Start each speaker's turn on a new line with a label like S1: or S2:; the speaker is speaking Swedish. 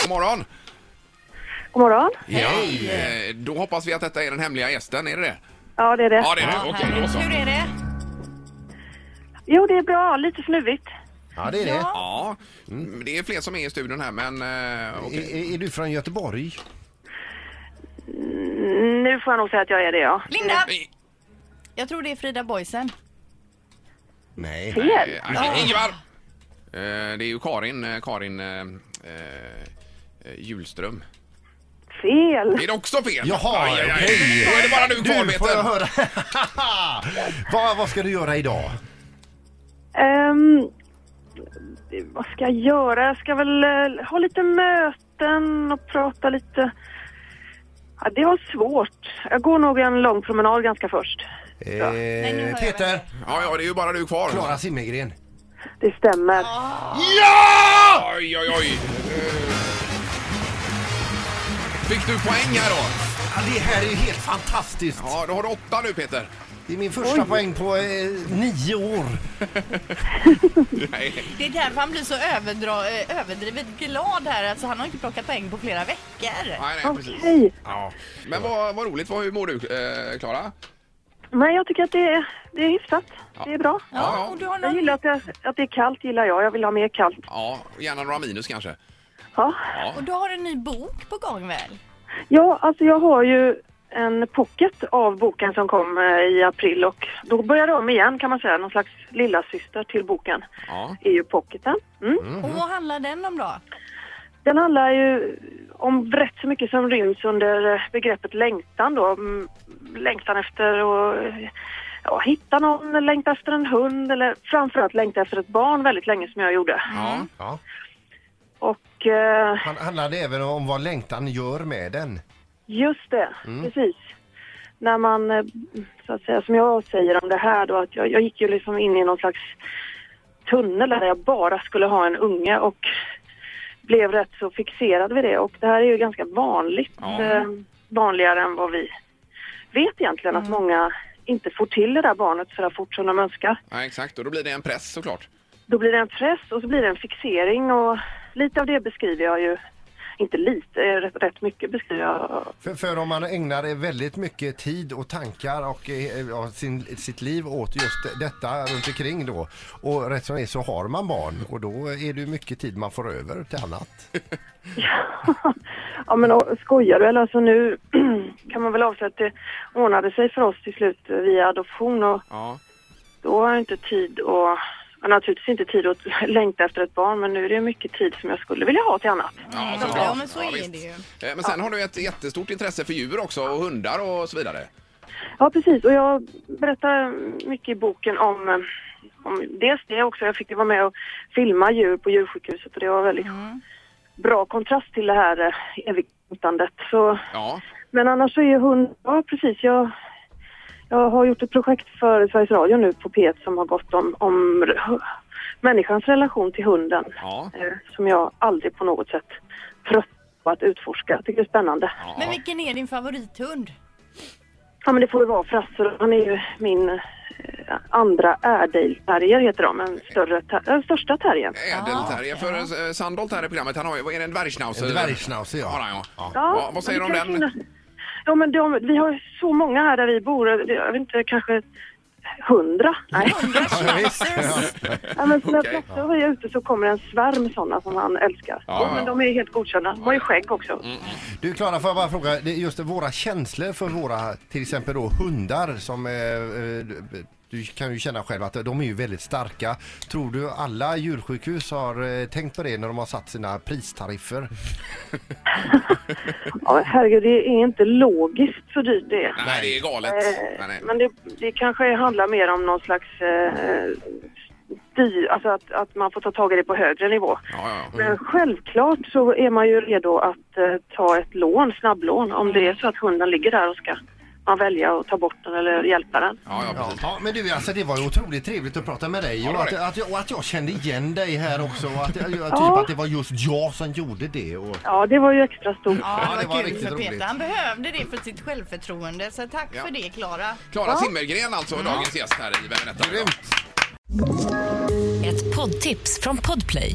S1: god morgon!
S2: God morgon.
S1: Hej! Eh, Då hoppas vi att detta är den hemliga gästen, är det det?
S2: Ja, det är det.
S1: Ja, Mm. det är det. Okej, då så.
S3: Hur är det?
S2: Jo, det är bra. Lite snuvigt.
S4: Ja, det är det.
S1: Ja, mm, det är fler som är i studion här, men... eh, okej.
S4: Är, är- är du från Göteborg?
S2: Nu får jag nog säga att jag är det, ja.
S3: Linda!
S1: Nej,
S3: Jag tror det är Frida Boisen.
S4: Nej.
S2: Fel.
S1: eh, nej, Ingvar! Eh, Det är ju Karin, eh, Karin eh, eh, Julström.
S2: Fel.
S1: Är det också fel?
S4: Jaha,
S1: Aj, aj, aj.
S4: okej.
S1: Då är det bara du kvar,
S4: Du, får jag
S1: Peter.
S4: höra? vad, vad ska du göra idag?
S2: Ehm, vad ska jag göra? Jag ska väl eh, ha lite möten och prata lite. Ja, det var svårt. Jag går nog en lång promenad ganska först.
S4: Eh,
S3: nu hör jag
S4: Peter,
S1: Ja, ja, det är ju bara du kvar.
S4: Klara Zimmergren.
S2: Det stämmer.
S1: Ja! Oj, oj, oj. Eh. Fick du poäng här då?
S4: Ja, det här är ju helt fantastiskt.
S1: Ja, då har du åtta nu Peter.
S4: Det är min första poäng på eh, nio år.
S1: Nej.
S3: Det är därför han blir så överdra, eh, överdrivet glad här. Alltså, han har inte plockat poäng på flera veckor.
S1: Nej, nej, precis.
S2: Okej.
S1: Ja. Men vad, vad roligt. Vad, hur mår du, eh, Klara?
S2: Men jag tycker att det är, det är hyfsat. Det är bra.
S3: Ja, och du har
S2: Jag
S3: någon...
S2: gillar att, jag, att det är kallt, gillar jag. Jag vill ha mer kallt.
S1: ja, gärna några minus kanske.
S2: Ja.
S3: Och du har en ny bok på gång väl?
S2: Ja, alltså jag har ju en pocket av boken som kom eh, i april och då börjar det om igen kan man säga. Någon slags lilla syster till boken
S1: Ja.
S2: är ju pocketen. Mm.
S3: Och vad handlar den om då?
S2: Den handlar ju om rätt så mycket som ryms under eh, begreppet längtan då. Mm, Längtan efter att eh, ja, hitta någon, längta efter en hund eller framförallt längta efter ett barn väldigt länge som jag gjorde.
S1: Ja.
S3: Mm.
S4: Ja.
S2: Och eh,
S4: Han handlade även om vad längtan gör med den.
S2: Just det, precis. När man, eh, så att säga, som jag säger om det här då, att jag, jag gick ju liksom in i någon slags tunnel där jag bara skulle ha en unge och blev rätt så fixerad vid det och det här är ju ganska vanligt,
S1: Ja.
S2: eh, vanligare än vad vi vet egentligen att många inte får till det där barnet så där fort som de önskar.
S1: ja, exakt. Och då blir det en press såklart.
S2: Då blir det en press och så blir det en fixering och lite av det beskriver jag ju, inte lite, eh, rätt, rätt mycket beskriver jag
S4: För, för om man ägnar väldigt mycket tid och tankar och eh, ja, sin, sitt liv åt just detta runt omkring då och rätt som det är så har man barn och då är det ju mycket tid man får över till annat.
S2: Ja men å- skojar du eller? Alltså nu kan man väl avse att det ordnade sig för oss till slut via adoption och
S1: Ja.
S2: då har jag inte tid och ja, naturligtvis inte tid att längta efter ett barn men nu är det mycket tid som jag skulle vilja ha till annat.
S1: Ja,
S3: Ja,
S1: såklart.
S3: men så är
S1: visst.
S3: det ju.
S1: Eh, Men sen har du ett jättestort intresse för djur också och hundar och så vidare.
S2: Ja precis och jag berättar mycket i boken om, eh, om dels det också. Jag fick ju vara med och filma djur på djursjukhuset och det var väldigt
S3: Mm.
S2: bra kontrast till det här eh, evigtandet. Så
S1: Ja.
S2: Men annars så är hon... Ja, precis. Jag, jag har gjort ett projekt för Sveriges Radio nu på P1 som har gått om, om r- människans relation till hunden.
S1: Ja.
S2: Eh, Som jag aldrig på något sätt trött på att utforska. Jag tycker det är spännande. Ja,
S3: Men vilken är din favorithund?
S2: men det får ju vara Frasse. Han är ju min eh, andra Airdale-terrier heter de. En större ter- den största terriern.
S1: Ädelterrier. För eh, Sandholt här i programmet, han har ju, vad är det, en dvärgschnauzer?
S4: En dvärgschnauzer, ja.
S1: Har han, ja.
S2: Ja,
S1: Vad- vad säger du
S2: men
S1: om
S2: det kan
S1: den?
S2: finnas- Ja, men de, vi har ju så många här där vi bor. Jag vet inte, kanske hundra? Nej.
S4: Ja, visst. Ja.
S2: Ja, men när
S1: Okej.
S2: Frasse var ute så kommer en svärm sådana som han älskar.
S1: Ja, Mm.
S2: Och, men
S1: ja.
S2: de är helt godkända. De har ju skägg också.
S4: Du Klara, får jag bara fråga, det är just våra känslor för våra till exempel då hundar som eh, eh, du kan ju känna själv att de är ju väldigt starka. Tror du alla djursjukhus har eh, tänkt på det när de har satt sina pristariffer?
S2: Ja, herregud, det är inte logiskt så dyrt det är.
S1: Nej, det är galet.
S2: Eh,
S1: Nej, nej.
S2: Men det, det kanske handlar mer om någon slags eh, styr, alltså att, att man får ta tag i det på högre nivå.
S1: Ja, ja, ja.
S2: Men självklart så är man ju redo att eh, ta ett lån, snabblån, om det är så att hunden ligger där och ska man välja att ta bort den eller hjälpa den.
S1: ja, ja
S4: Ja,
S1: precis.
S4: ja, men du alltså det var ju otroligt trevligt att prata med dig
S1: det
S4: och
S1: var
S4: att,
S1: det.
S4: att, jag, och att jag kände igen dig här också och att, jag- typ
S2: Ja.
S4: att det var just jag som gjorde det. Och,
S2: Ja, det var ju extra stort.
S3: Ja,
S4: Ja,
S3: det var kul
S4: riktigt
S3: för
S4: roligt.
S3: Peter. Han behövde det för sitt självförtroende. Så tack
S1: Ja.
S3: för det, Klara.
S1: Klara Zimmergren alltså, dagens gäst här i Vem är detta?
S5: Ett poddtips från Podplay.